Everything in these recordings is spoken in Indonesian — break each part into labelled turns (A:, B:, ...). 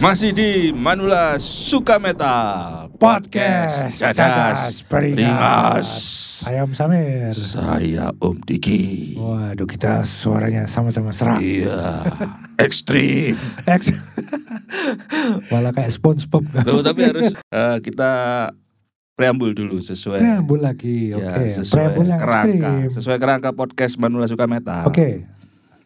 A: Masih di Manula Suka Metal
B: Podcast Cadas Beringas. Saya Om Samir.
A: Saya Om Diki.
B: Waduh kita suaranya sama-sama serak.
A: Iya, ekstrim.
B: Ex. Malah kayak SpongeBob.
A: Loh, tapi harus eh, kita preambul dulu sesuai.
B: Preambul lagi.
A: Ya,
B: Oke.
A: sesuai
B: Preambul yang
A: kerangka,
B: ekstrim. Oke.
A: sesuai kerangka podcast Manula Suka Metal.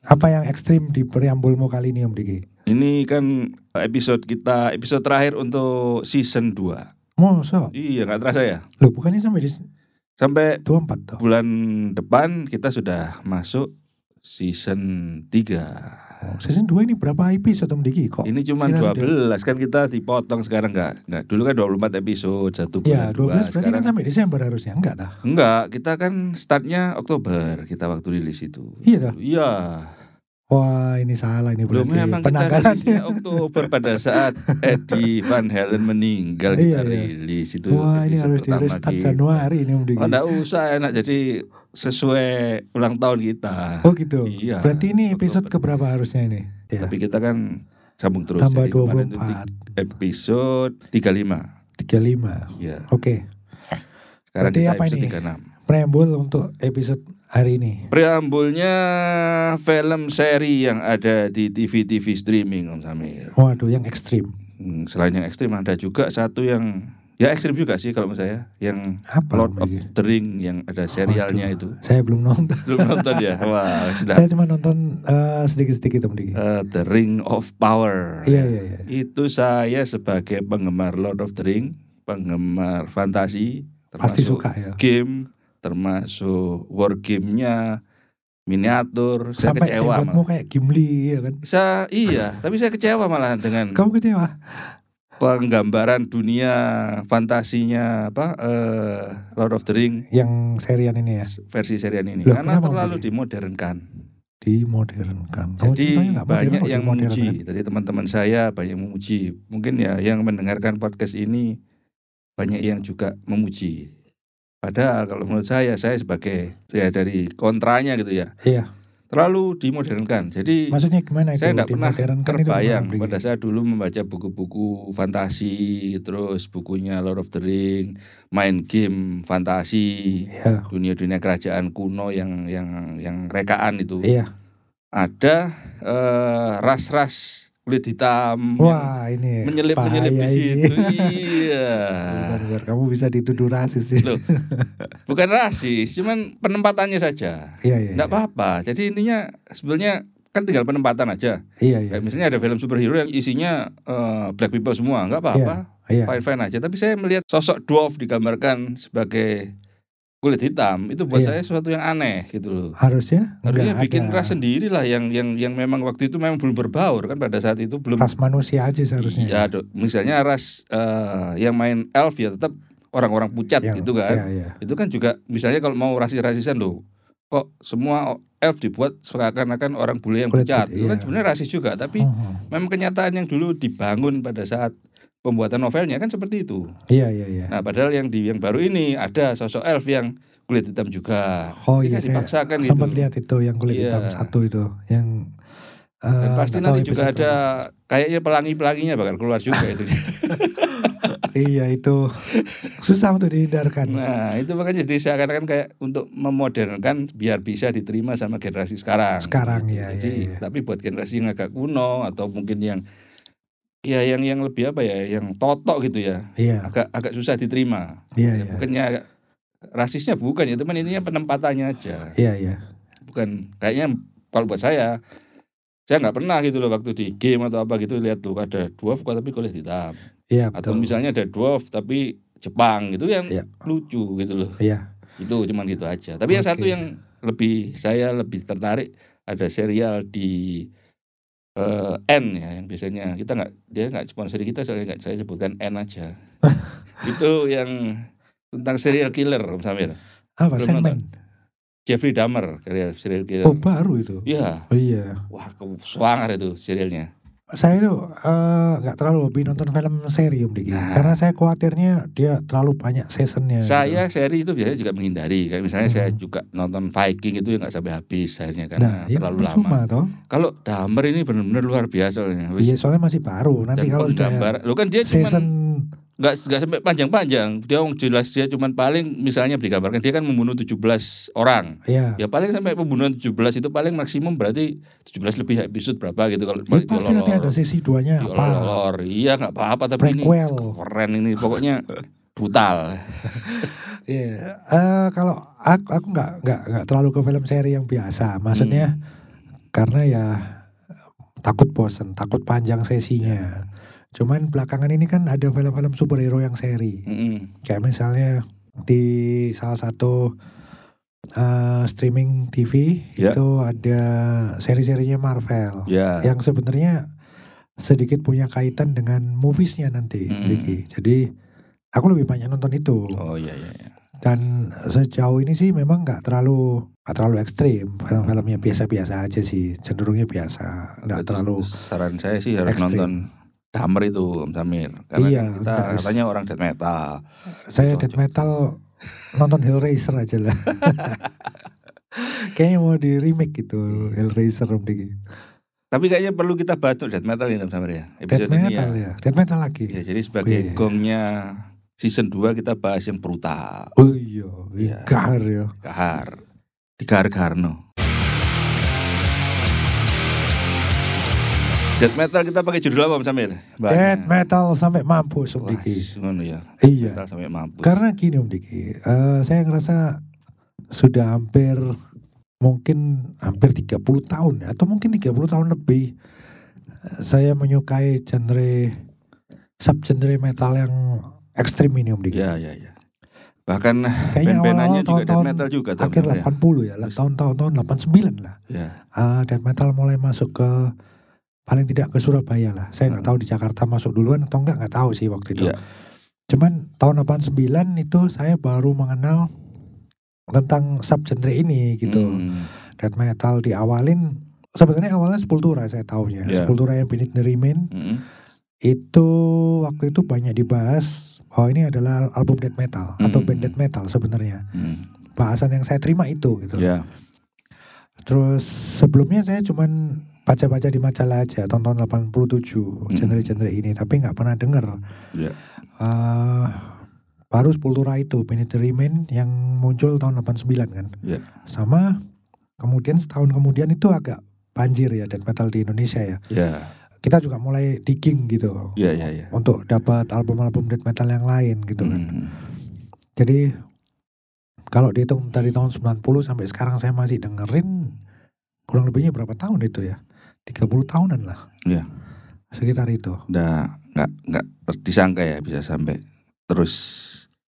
B: Apa yang ekstrim di preambulmu kali ini Om Diki?
A: Ini kan episode kita episode terakhir untuk season 2
B: Masa?
A: Iya, nggak terasa ya.
B: Loh bukannya sampai di
A: Sampai
B: 24 toh?
A: bulan depan kita sudah masuk season 3
B: Oh, season 2 ini berapa episode Om Diki kok?
A: Iya. Ini cuma
B: Kira
A: 12 kan kita dipotong sekarang enggak? Enggak, dulu kan 24 episode, satu bulan
B: Ya
A: dua.
B: 12 berarti
A: Sekarang
B: kan sampai Desember harusnya enggak tah?
A: enggak, kita kan startnya Oktober kita waktu rilis itu.
B: Iya tah?
A: Iya,
B: Wah ini salah ini
A: belum
B: berarti
A: memang kita
B: penanggalan.
A: rilisnya Oktober pada saat Eddie Van Halen meninggal
B: Iya,
A: kita
B: iya.
A: rilis itu.
B: Wah ini
A: episode
B: harus di
A: pertama
B: restart
A: kita.
B: Januari ini Om Diki.
A: Oh, enggak usah enak jadi sesuai ulang tahun kita.
B: Oh gitu.
A: Iya,
B: Berarti ini episode
A: Oktober.
B: keberapa harusnya ini? Ya.
A: Tapi kita kan sambung terus.
B: Tambah
A: Jadi kemarin itu
B: 24,
A: episode 35.
B: 35.
A: Iya.
B: Oke.
A: Sekarang
B: Berarti
A: kita
B: apa
A: episode
B: ini?
A: 36.
B: Preambul untuk episode hari ini.
A: Preambulnya film seri yang ada di TV-TV streaming Om Samir.
B: Waduh yang ekstrim.
A: Hmm, selain yang ekstrim ada juga satu yang ya ekstrim juga sih kalau menurut saya yang
B: Apa?
A: Lord
B: Om
A: of
B: Diki?
A: the Ring yang ada serialnya itu.
B: Saya belum nonton.
A: Belum nonton ya? Wah, sudah.
B: Saya cuma nonton eh, sedikit-sedikit Om Diki.
A: Eh, the Ring of Power.
B: Iya iya iya.
A: Itu saya sebagai penggemar Lord of the Ring, penggemar fantasi,
B: Pasti
A: termasuk
B: suka ya.
A: game, termasuk war gamenya, miniatur. Saya
B: Sampai
A: kecewa malah.
B: jenggotmu kayak Gimli ya kan.
A: Saya iya, tapi saya kecewa malahan dengan
B: Kamu kecewa?
A: penggambaran dunia fantasinya apa eh, Lord of the Ring
B: Yang serian ini ya
A: versi serian ini
B: Loh,
A: karena
B: kenapa
A: terlalu
B: Bang?
A: dimodernkan.
B: dimodernkan. Kamu
A: Jadi
B: ceritanya nggak kan modern
A: banyak
B: kok
A: yang
B: dimodernkan.
A: memuji. Tadi teman-teman saya banyak memuji. Mungkin ya yang mendengarkan podcast ini banyak yang juga memuji. Padahal kalau menurut saya saya sebagai ya dari kontranya gitu ya.
B: Iya.
A: Terlalu dimodernkan. Jadi
B: Maksudnya gimana itu?
A: saya tidak pernah
B: dimodernkan itu gimana,
A: terbayang
B: Om Diki?
A: pada saya dulu membaca buku-buku fantasi terus bukunya Lord of the Ring main game fantasi
B: Iya.
A: dunia-dunia kerajaan kuno yang yang yang rekaan itu
B: Iya.
A: ada eh, ras-ras kulit hitam yang
B: Wah ini
A: menyelip-menyelip di
B: bahaya
A: situ
B: ini.
A: iya
B: Bentar, bentar. Kamu bisa dituduh rasis ya. sih.
A: Loh, bukan rasis cuman penempatannya saja
B: Iya iya.
A: tidak apa-apa jadi intinya sebetulnya kan tinggal penempatan aja
B: Iya iya.
A: Kayak misalnya ada film superhero yang isinya eh, black people semua, nggak apa-apa,
B: Iya.
A: fine fine aja. Tapi saya melihat sosok dwarf digambarkan sebagai kulit hitam itu buat
B: Iya.
A: saya sesuatu yang aneh gitu loh.
B: Harusnya
A: Harusnya
B: nggak
A: bikin
B: ada.
A: ras sendiri lah yang yang yang memang waktu itu memang belum berbaur kan pada saat itu belum.
B: Ras manusia aja seharusnya.
A: Ya, do- misalnya ras eh, yang main elf ya tetap orang-orang pucat
B: Yang-
A: gitu kan.
B: Iya iya.
A: Itu kan juga misalnya kalau mau rasis-rasisan loh kok semua elf dibuat seakan-akan orang bule yang
B: Kulit
A: pucat. Itu
B: putih,
A: kan
B: iya.
A: sebenarnya rasis juga tapi
B: Mhm.
A: Memang kenyataan yang dulu dibangun pada saat pembuatan novelnya kan seperti itu.
B: Iya iya iya.
A: Nah, padahal yang di yang baru ini ada sosok elf yang kulit hitam juga.
B: Oh
A: Jadi kan
B: iya. Saya
A: dipaksakan gitu.
B: sempat lihat itu yang kulit
A: Iya.
B: hitam satu itu yang. eh,
A: Dan pasti
B: nggak tahu
A: nanti juga
B: episode
A: ada kayaknya pelangi-pelanginya bakal keluar juga itu.
B: berapa. Iya itu susah untuk dihindarkan.
A: Nah, itu makanya jadi seakan-akan kayak untuk memodernkan biar bisa diterima sama generasi sekarang.
B: Sekarang,
A: Gitu.
B: ya,
A: Jadi,
B: ya, ya.
A: tapi buat generasi yang agak kuno atau mungkin yang ya yang yang lebih apa ya, yang totok gitu ya,
B: Iya
A: agak agak susah diterima. Ya,
B: iya iya.
A: bukannya rasisnya bukan ya teman intinya penempatannya aja
B: Iya iya.
A: bukan kayaknya kalau buat saya saya nggak pernah gitu loh waktu di game atau apa gitu lihat tuh ada dwarf kok tapi kulit hitam
B: Iya
A: atau
B: betul.
A: misalnya ada dwarf tapi Jepang gitu yang
B: Iya.
A: lucu gitu loh
B: Iya.
A: itu cuman gitu aja tapi yang
B: Oke.
A: satu yang lebih saya lebih tertarik ada serial di eh, N ya yang biasanya kita nggak dia nggak sponsori kita soalnya nggak saya sebutkan N aja itu yang tentang serial killer Om Samir
B: Apa
A: Belum
B: Sandman?
A: Jeffrey Dahmer serial serial killer.
B: Oh baru itu.
A: Iya,
B: Oh iya.
A: wah ke- suangar itu serialnya.
B: saya itu eh, nggak terlalu hobi nonton film seri Om Diki
C: Nah.
B: karena saya khawatirnya dia terlalu banyak seasonnya. gitu.
C: Saya seri itu biasanya juga menghindari. Kayak misalnya saya
B: Mhm.
C: juga nonton Viking itu ya nggak sampai habis akhirnya
B: nah,
C: karena
B: ya
C: terlalu lama.
B: percuma toh.
C: Kalau Dahmer ini benar-benar luar biasa. ya,
B: Iya soalnya masih baru. Nanti kalau sudah
C: gambar, lo kan dia cuma
B: season ya.
C: nggak nggak sampai panjang-panjang. Dia wong jelas dia cuman paling misalnya digambarkan dia kan membunuh 17 orang.
B: ya.
C: Ya paling sampai pembunuhan 17 itu paling maksimum berarti 17 lebih episode berapa gitu kalau
B: Ya, pasti nanti ada sesi duanya apa?
C: Diolor-olor. Iya nggak apa-apa tapi
B: Prequel.
C: ini keren ini pokoknya brutal.
B: Iya. Eh, kalau aku aku nggak nggak nggak terlalu ke film seri yang biasa. Maksudnya
C: Hmm.
B: karena ya takut bosen, takut panjang
C: Ya.
B: sesinya. Cuman belakangan ini kan ada film-film superhero yang seri.
C: Mm-mm.
B: Kayak misalnya di salah satu eh, streaming TV
C: Ya.
B: itu ada seri-serinya Marvel
C: Ya.
B: yang sebenarnya sedikit punya kaitan dengan moviesnya nanti,
C: Mm.
B: Ricky. Jadi aku lebih banyak nonton itu
C: Oh iya iya. iya.
B: dan sejauh ini sih memang nggak terlalu nggak terlalu ekstrim film-filmnya biasa-biasa aja sih cenderungnya biasa
A: Berarti
B: nggak terlalu
A: saran saya sih harus
B: ekstrim.
A: nonton Damer itu Om Samir karena
B: Iya,
A: kita
B: udah.
A: katanya orang death metal
B: saya
A: cocok.
B: death metal nonton Hellraiser aja lah kayaknya mau di remake gitu
A: Iya.
B: Hellraiser om Diki
A: tapi kayaknya perlu kita bahas tuh death metal ya Om Samir ya
B: death
A: episode ini ya.
B: metal Oh, iya. ya death metal lagi
A: Ya, jadi sebagai
B: Wih.
A: gongnya season 2 kita bahas yang brutal
B: oh iya
A: Iya.
B: gahar ya
A: kahar tiga Garno death metal kita pakai judul apa Om Samir
B: death metal sampai mampus om
A: Wah,
B: Diki
A: ngono ya.
B: Iya.
A: Metal sampai mampus.
B: Karena gini Om Diki, eh, saya ngerasa sudah hampir mungkin hampir 30 tahun ya, atau mungkin 30 tahun lebih eh, saya menyukai genre subgenre metal yang ekstrim ini Om Diki.
A: Ya, ya, ya. Bahkan
B: Kayaknya
A: band-bandannya
B: awal-awal
A: juga death
B: tahun-tahun
A: metal juga Tom
B: akhir
A: Samir, ya.
B: 80 ya, lah, tahun-tahun tahun 89 lah.
A: Ya.
B: Ah, death metal mulai masuk ke paling tidak ke Surabaya lah. Saya nggak tahu di Jakarta masuk duluan atau enggak nggak tahu sih waktu itu.
A: Hmm. Iya.
B: Cuman tahun 89 itu saya baru mengenal tentang subgenre ini gitu.
A: Hmm.
B: Death metal diawalin sebenarnya awalnya Sepultura saya tahunya.
A: Iya.
B: Sepultura yang Beneath the Remain
A: Mm-mm.
B: itu waktu itu banyak dibahas Oh ini adalah album death metal atau
A: Hmm.
B: band death metal sebenarnya.
A: Hmm.
B: Bahasan yang saya terima itu gitu.
A: Ya.
B: Terus sebelumnya saya cuman baca-baca di majalah aja tahun-tahun 87 genre-genre ini tapi nggak pernah denger.
A: Hmm. Ya.
B: Eh, baru Sepultura itu Beneath the Remain yang muncul tahun 89 kan.
A: Ya.
B: Sama kemudian setahun kemudian itu agak banjir ya death metal di Indonesia ya.
A: Ya.
B: Kita juga mulai digging gitu
A: Ya, ya, ya.
B: untuk dapat album-album death metal yang lain gitu kan.
A: Mm.
B: Jadi kalau dihitung dari tahun 90 sampai sekarang saya masih dengerin kurang lebihnya berapa tahun itu ya? 30 tahunan lah.
A: Iya.
B: Sekitar itu.
A: Udah nggak nggak ter- disangka ya bisa sampai terus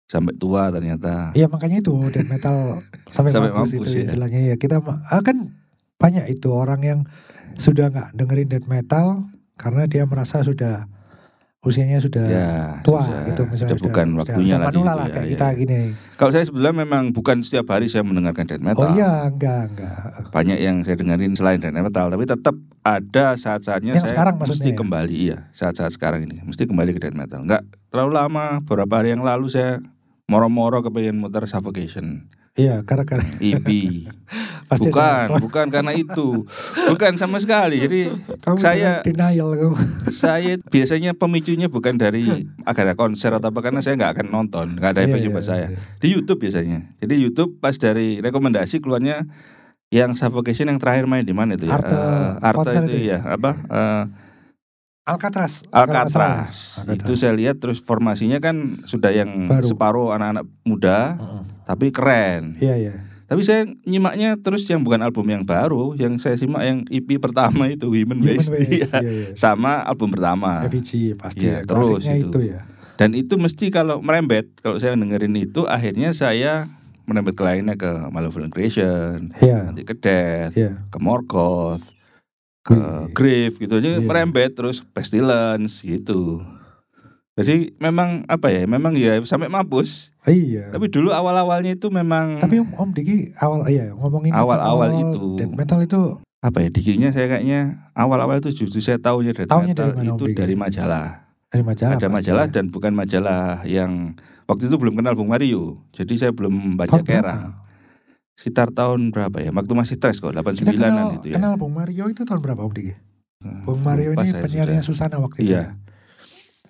A: sampai tua ternyata.
B: Iya makanya itu death metal sampai,
A: Sampai
B: mampus,
A: mampus,
B: itu
A: ya.
B: istilahnya ya. Kita ma- ah, kan banyak itu orang yang sudah nggak dengerin death metal karena dia merasa sudah usianya sudah
A: Ya,
B: Iya, tua
A: sudah-
B: gitu misalnya
A: sudah bukan
B: sudah
A: waktunya
B: sudah
A: lagi. itu
B: manula lah
A: ya,
B: kayak
A: ya,
B: kita
A: ya.
B: gini.
A: Kalau saya sebenarnya memang bukan setiap hari saya mendengarkan death metal.
B: Oh iya enggak enggak.
A: Banyak yang saya dengerin selain death metal, tapi tetap ada saat-saatnya saya
B: Yang sekarang
A: mesti
B: maksudnya ya?
A: kembali iya, saat-saat sekarang ini mesti kembali ke death metal. Nggak terlalu lama, beberapa hari yang lalu saya moro-moro kepengen muter Suffocation
B: Iya gara-gara
A: EP.
B: pasti ada-
A: bukan, bukan karena itu. Bukan sama sekali. Jadi
B: Kamu
A: saya
B: jangan gitu. denial kamu.
A: saya biasanya pemicunya bukan dari agak ada konser atau apa karena saya nggak akan nonton, nggak ada
B: Iya,
A: efeknya
B: iya,
A: buat saya.
B: iya.
A: Di YouTube biasanya. Jadi YouTube pas dari rekomendasi keluarnya yang Suffocation yang terakhir main di mana itu ya?
B: Arte,
A: Eh, Arte
B: konser
A: itu,
B: itu.
A: ya, apa? Eh,
B: Alcatraz.
A: Alcatraz.
B: Alcatraz.
A: Itu saya lihat terus formasinya kan sudah yang
B: Baru.
A: separuh anak-anak muda
B: Heeh.
A: tapi keren.
B: Iya iya.
A: Tapi saya nyimaknya terus yang bukan album yang baru, yang saya simak yang EP pertama itu Human
B: Human
A: Waste,
B: Waste.
A: Iya.
B: Iya iya.
A: sama album pertama.
B: FEG pasti
A: Iya,
B: ya.
A: terus
B: Klasiknya
A: itu.
B: itu ya.
A: Dan itu mesti kalau merembet, kalau saya dengerin itu akhirnya saya merembet ke lainnya ke Malevolent Creation,
B: Iya.
A: nanti ke Death,
B: Iya.
A: ke Morgoth, ke
B: Wih.
A: Grave gitu. Jadi
B: Iya.
A: merembet terus Pestilence gitu. Jadi memang apa ya? Memang ya sampai mampus.
B: Iya.
A: Tapi dulu awal-awalnya itu memang
B: Tapi Om, Om Diki awal iya ngomongin
A: Awal-awal
B: awal
A: itu.
B: death metal itu
A: apa ya dikitnya saya kayaknya awal-awal itu justru saya tahunya dari
B: Tahunya
A: metal
B: dari mana, Om
A: itu
B: Biki?
A: dari majalah.
B: Dari majalah.
A: Ada
B: pasti
A: majalah
B: ya.
A: dan bukan majalah yang waktu itu belum kenal Bung Mario. Jadi saya belum baca
B: Tahun berapa?
A: Kera. Sekitar tahtahun berapa ya? Waktu masih stres kok,
B: Kita
A: 89-an
B: kenal,
A: itu ya. Hmm,
B: kenal Bung Mario itu tahun berapa Om Diki? Bung Mario
A: lupa
B: ini
A: saya
B: penyiarnya Susana waktu itu.
A: Iya.
B: ya?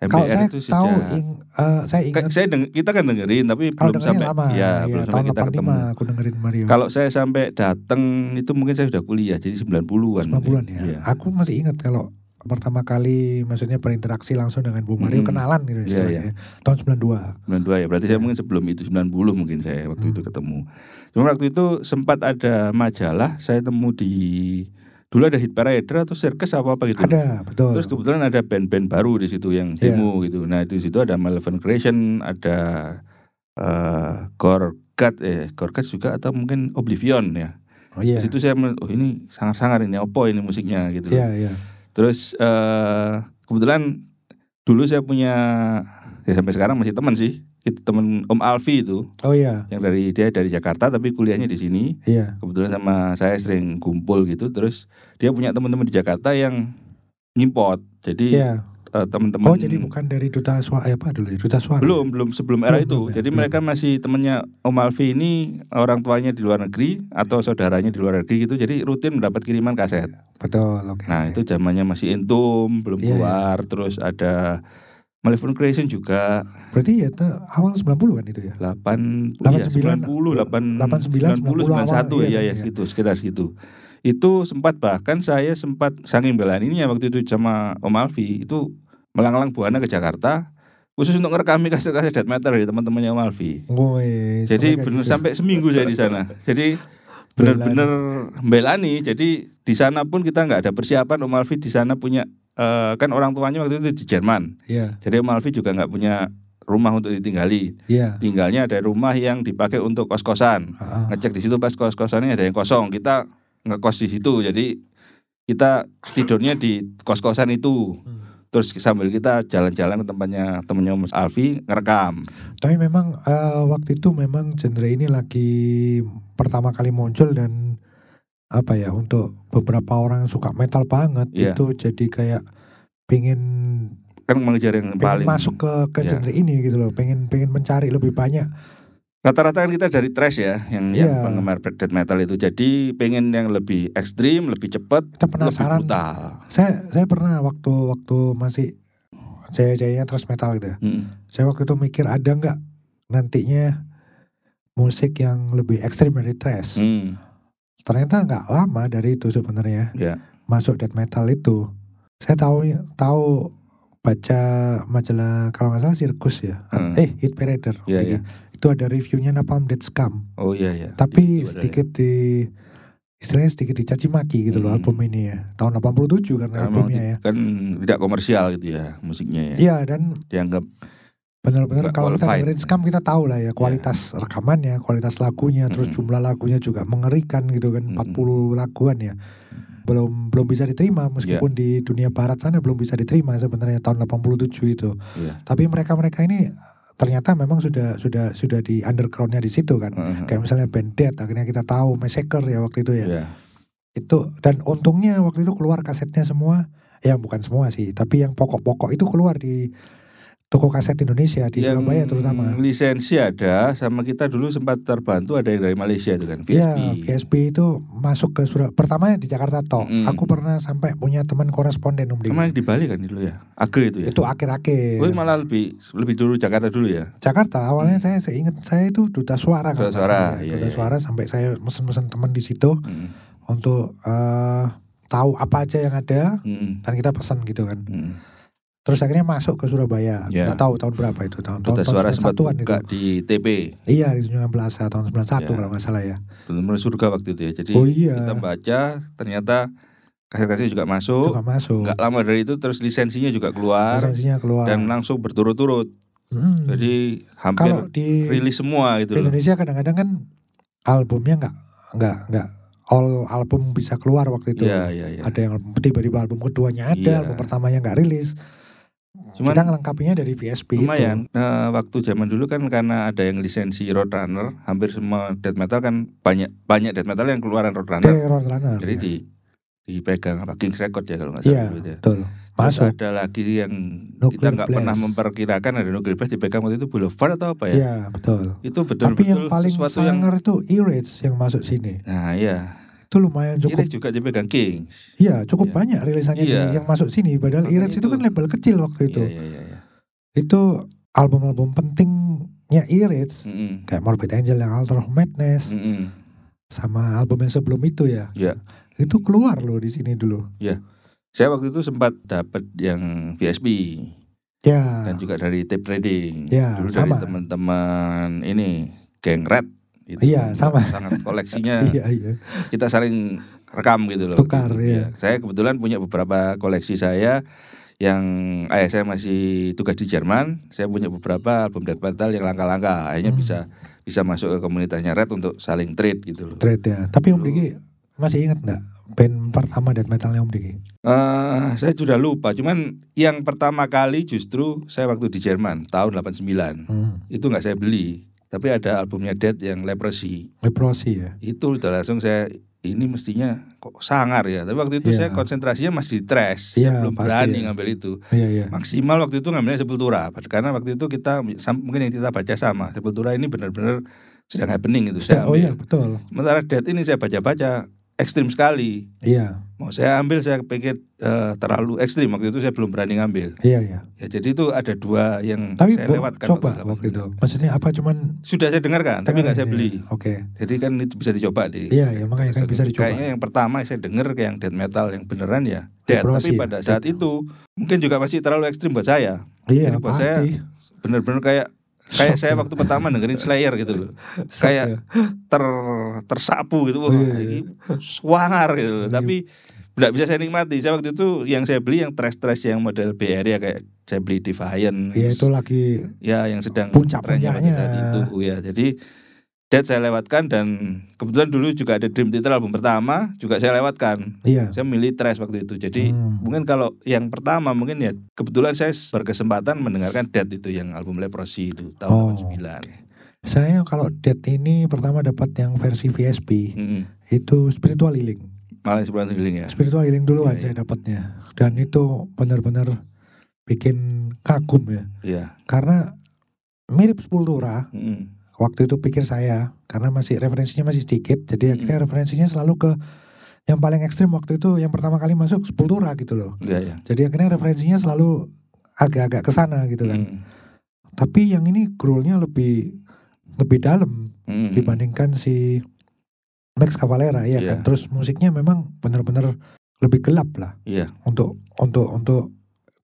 B: Kalau
A: MBR
B: saya
A: itu
B: tahu,
A: sejak-
B: ing- eh, saya
A: Kayak
B: ingat
A: saya deng- kita kan dengerin tapi
B: kalau
A: belum
B: dengerin
A: sampai
B: lama.
A: ya,
B: Iya,
A: belum sampai
B: tahun
A: kita
B: 85
A: ketemu.
B: aku dengerin Mario.
A: Kalau saya sampai datang itu mungkin saya sudah kuliah jadi 90-an.
B: 90-an
A: mungkin.
B: ya.
A: Iya.
B: Aku masih ingat kalau pertama kali maksudnya berinteraksi langsung dengan Bung Mario
A: Hmm.
B: kenalan gitu
A: Iya,
B: istilahnya. Tahun 92.
A: 92 ya. Berarti saya
B: Iya.
A: mungkin sebelum itu 90 mungkin saya waktu
B: Hmm.
A: itu ketemu. Cuma waktu itu sempat ada majalah saya temu di dulu ada Hit Parade atau Circus apa apa gitu.
B: Ada, betul.
A: Terus kebetulan ada band-band baru di situ yang
B: Iya.
A: demo gitu. Nah, di situ ada Malevolent Creation, ada eh Gorgat eh Gorgat juga atau mungkin Oblivion ya.
B: oh iya.
A: Di situ saya men- oh ini sangar-sangar ini opo ini musiknya gitu.
B: Iya, iya.
A: Terus eh kebetulan dulu saya punya ya sampai sekarang masih teman sih. Itu teman Om Alfi itu
B: Oh iya,
A: yang dari dia dari Jakarta tapi kuliahnya di sini.
B: iya.
A: Kebetulan sama saya sering kumpul gitu. Terus dia punya teman-teman di Jakarta yang ngimport. Jadi
B: Iya.
A: eh, teman-teman
B: Oh, jadi bukan dari duta suara apa dulu ya? Duta suara.
A: belum belum sebelum era
B: Belum,
A: itu.
B: belum ya,
A: Jadi
B: belum.
A: mereka masih temannya Om Alfi ini orang tuanya di luar negeri atau saudaranya di luar negeri gitu. Jadi rutin mendapat kiriman kaset.
B: Betul, oke.
A: Nah itu zamannya masih entum belum
B: Iya, iya.
A: keluar terus ada Malevolent Creation juga
B: Berarti ya te, awal 90 kan itu ya?
A: 8
B: 89,
A: 90 8
B: 89,
A: 90, 91
B: 91, iya,
A: ya ya
B: iya.
A: segitu sekitar segitu. Itu sempat bahkan saya sempat saking belaninya waktu itu sama Om Alfi itu melanglang buana ke Jakarta khusus untuk ngerekami kaset-kaset death metal dari teman-temannya Om Alfi.
B: Woi.
A: Jadi
B: kayak
A: benar
B: gitu.
A: sampai seminggu saya di sana. Jadi benar-benar membelani. Jadi di sana pun kita nggak ada persiapan. Om Alfi di sana punya eh, kan orang tuanya waktu itu di Jerman.
B: Iya,
A: Jadi Om Alfi juga nggak punya rumah untuk ditinggali.
B: iya.
A: Tinggalnya ada rumah yang dipakai untuk kos-kosan.
B: Ah, ah.
A: Ngecek di situ pas kos-kosannya ada yang kosong. Kita ngekos di situ. Jadi kita tidurnya di kos-kosan itu.
B: Hmm.
A: Terus sambil kita jalan-jalan ke tempatnya temennya Mas Alfi ngerekam.
B: Tapi memang eh, waktu itu memang genre ini lagi pertama kali muncul dan apa ya untuk beberapa orang yang suka metal banget
A: Iya.
B: itu jadi kayak pengen
A: Kan mengejar yang paling
B: pengen masuk ke ke
A: Iya.
B: genre ini gitu loh pengen pengen mencari lebih banyak
A: Rata-rata kan kita dari trash ya, yang yang
B: Iya.
A: penggemar death metal itu. Jadi pengen yang lebih ekstrim, lebih cepat,
B: kita
A: lebih
B: penasaran
A: brutal.
B: saya saya pernah waktu waktu masih saya jayanya terus metal gitu ya.
A: Mm.
B: saya waktu itu mikir ada nggak nantinya musik yang lebih ekstrim dari thrash
A: Mm.
B: ternyata nggak lama dari itu sebenarnya
A: Ya.
B: masuk death metal itu saya tahu tahu baca majalah kalau nggak salah sirkus ya At-
A: Hmm.
B: eh hit parader
A: Iya,
B: Jadi,
A: iya.
B: itu ada reviewnya napalm death scum
A: Oh iya ya.
B: tapi
A: Itu ada
B: sedikit di istilahnya sedikit dicaci maki gitu loh
A: Hmm.
B: album ini ya tahun 87 karena
A: Karena memang
B: albumnya ya
A: ti- kan tidak komersial gitu ya musiknya ya.
B: iya dan
A: Dianggap
B: benar-benar
A: Nggak
B: kalau kita
A: qualified. Iya.
B: dengerin scum kita tahu lah ya kualitas rekamannya kualitas lagunya terus
A: Mm-mm.
B: jumlah lagunya juga mengerikan gitu kan
A: Mm-mm.
B: 40 laguan ya belum belum bisa diterima
A: Iya.
B: meskipun di dunia barat sana belum bisa diterima sebenarnya tahun 87 itu
A: Iya.
B: tapi mereka-mereka ini ternyata memang sudah sudah sudah di undergroundnya di situ kan
A: Heeh.
B: kayak misalnya band Dead akhirnya kita tahu Massacre ya waktu itu ya
A: Iya.
B: itu dan untungnya waktu itu keluar kasetnya semua ya bukan semua sih tapi yang pokok-pokok itu keluar di toko kaset Indonesia di
A: Yang
B: Surabaya terutama
A: lisensi ada sama kita dulu sempat terbantu ada yang dari Malaysia itu kan VSP.
B: Iya, PSP itu masuk ke Surabaya pertama di Jakarta toh
A: Mm.
B: aku pernah sampai punya teman koresponden Om Diki.
A: Sama yang di Bali kan dulu ya. Age itu ya.
B: itu akhir-akhir
A: Oh, malah lebih lebih dulu Jakarta dulu ya.
B: Jakarta awalnya saya seingat saya itu duta suara
A: Duta
B: kalau nggak
A: suara,
B: salah ya.
A: iya,
B: duta
A: iya, iya.
B: suara sampai saya mesen-mesen teman di situ
A: Mm.
B: untuk eh, tahu apa aja yang ada
A: Mm.
B: dan kita pesan gitu kan
A: Mm.
B: terus akhirnya masuk ke Surabaya
A: Iya.
B: nggak tahu tahun berapa itu tahun
A: Duta
B: tahun
A: suara sempat
B: 91-an itu
A: buka di TP.
B: iya di 19 tahun
A: Iya.
B: 91 kalau nggak salah ya
A: benar-benar surga waktu itu ya. Jadi
B: oh iya
A: kita baca ternyata kaset-kaset juga masuk.
B: juga masuk
A: Nggak lama dari itu terus lisensinya juga keluar
B: lisensinya keluar
A: dan langsung berturut-turut.
B: Hmm.
A: Jadi hampir
B: kalau di
A: rilis semua gitu loh.
B: Indonesia kadang-kadang kan albumnya nggak nggak nggak all album bisa keluar waktu itu
A: Iya, iya, iya.
B: gitu. ada yang album- tiba-tiba album keduanya ada,
A: Iya.
B: album pertamanya nggak rilis.
A: Cuman
B: kita ngelengkapinya dari PSP
A: lumayan. Nah, waktu zaman dulu kan karena ada yang lisensi Roadrunner, hampir semua death metal kan banyak banyak death metal yang keluaran
B: itu. Dari
A: Roadrunner.
B: Roadrunner.
A: Jadi
B: ya.
A: di dipegang apa Kings Record ya kalau nggak salah
B: Iya,
A: gitu ya.
B: betul.
A: Terus
B: Masuk.
A: ada lagi yang kita
B: Nuclear
A: nggak pernah
B: Blast.
A: memperkirakan ada nuclear blast dipegang waktu itu Boulevard atau apa ya?
B: Iya, betul.
A: Itu betul-betul
B: Tapi yang paling
A: sesuatu yang
B: sangar itu E-Rates yang masuk sini.
A: Nah, iya.
B: Itu lumayan
A: Cukup.
B: cukup.
A: juga dipegang Kings.
B: Iya, cukup
A: Iya.
B: banyak rilisannya
A: Iya.
B: di- yang masuk sini. Padahal
A: Makanya
B: E-Rates itu
A: itu-
B: kan label kecil waktu itu.
A: Iya, iya, iya.
B: Itu album-album pentingnya E-Rates.
A: Mm-mm.
B: Kayak Morbid Angel yang Altar of Madness.
A: Mm-mm.
B: sama album yang sebelum itu ya.
A: Hmm. Iya.
B: Itu keluar loh di sini dulu.
A: Saya waktu itu sempat dapat yang VSB
B: Ya.
A: dan juga dari tape trading.
B: Ya,
A: Dulu
B: sama.
A: dari teman-teman ini Gang Red gitu.
B: Iya, sama.
A: Sangat koleksinya
B: Iya iya.
A: kita saling rekam gitu loh.
B: Tukar,
A: Gitu,
B: iya.
A: Saya kebetulan punya beberapa koleksi saya yang ayah saya masih tugas di Jerman, saya punya beberapa album Death Metal yang langka-langka, akhirnya
B: Hmm.
A: bisa bisa masuk ke komunitasnya Red untuk saling trade gitu loh.
B: Trade ya. Tapi Om
A: Dulu.
B: Diki masih ingat nggak band pertama death metalnya Om Diki?
A: Eh, saya sudah lupa, cuman yang pertama kali justru saya waktu di Jerman tahun 89
B: Hmm.
A: itu nggak saya beli, tapi ada albumnya Dead yang Leprosy
B: Leprosy ya.
A: itu udah langsung saya ini mestinya kok sangar ya, tapi waktu itu saya
B: Iya.
A: konsentrasinya masih di trash, saya
B: Iya,
A: belum
B: pasti
A: berani
B: ya.
A: ngambil itu.
B: Iya iya.
A: Maksimal waktu itu ngambilnya Sepultura karena waktu itu kita sam- mungkin yang kita baca sama Sepultura ini benar-benar sedang happening itu. Saya
B: oh
A: ambil.
B: iya betul.
A: Sementara Dead ini saya baca-baca ekstrim sekali.
B: Iya
A: Mau saya ambil saya pikir eh, terlalu ekstrim waktu itu saya belum berani ngambil.
B: iya iya.
A: Ya jadi itu ada dua yang
B: Tapi
A: saya
B: bu-
A: lewatkan
B: coba waktu itu.
A: 89.
B: Maksudnya apa cuman
A: Sudah saya dengarkan tapi nggak saya
B: Iya,
A: beli.
B: Oke.
A: Jadi kan itu bisa dicoba di.
B: Iya iya makanya kan bisa dicoba.
A: Kayaknya yang pertama saya dengar kayak yang death metal yang beneran ya death.
B: Leprosy
A: Tapi
B: ya,
A: pada saat
B: death.
A: itu mungkin juga masih terlalu ekstrim buat saya.
B: Iya
A: Jadi buat
B: pasti.
A: saya, bener-bener kayak kayak
B: Shock
A: saya
B: ya.
A: waktu pertama dengerin Slayer gitu loh
B: Shock
A: kayak
B: ya.
A: ter tersapu gitu wah
B: Iya, iya.
A: ini swangar gitu loh
B: Iya.
A: tapi tidak bisa saya nikmati saya waktu itu yang saya beli yang trash trash yang model BR ya kayak saya beli Defiant
B: Iya itu lagi
A: ya yang sedang
B: Puncak-puncaknya.
A: trennya waktu saat itu ya jadi Dead saya lewatkan dan kebetulan dulu juga ada Dream Theater album pertama juga saya lewatkan
B: iya.
A: saya milih trash waktu itu jadi
B: Hmm.
A: Mungkin kalau yang pertama mungkin ya kebetulan saya berkesempatan mendengarkan Dead itu yang album Leprosy itu tahun
B: Oh,
A: 89.
B: Saya kalau death ini pertama dapat yang versi VSP
A: Mm-mm.
B: itu spiritual healing.
A: Malah sebulan healing ya.
B: spiritual healing dulu
A: Iya,
B: aja dapatnya dan itu benar-benar bikin kagum ya
A: Iya.
B: karena mirip Sepultura
A: Mm-mm.
B: waktu itu pikir saya karena masih referensinya masih sedikit jadi akhirnya
A: Hmm.
B: referensinya selalu ke yang paling ekstrim waktu itu yang pertama kali masuk Sepultura gitu loh
A: Iya ya.
B: jadi akhirnya referensinya selalu agak-agak ke sana gitu kan
A: Mm-mm.
B: tapi yang ini growlnya lebih lebih dalam
A: Mm-mm.
B: dibandingkan si Max Cavalera ya
A: Iya.
B: kan terus musiknya memang benar-benar lebih gelap lah
A: Iya.
B: untuk untuk untuk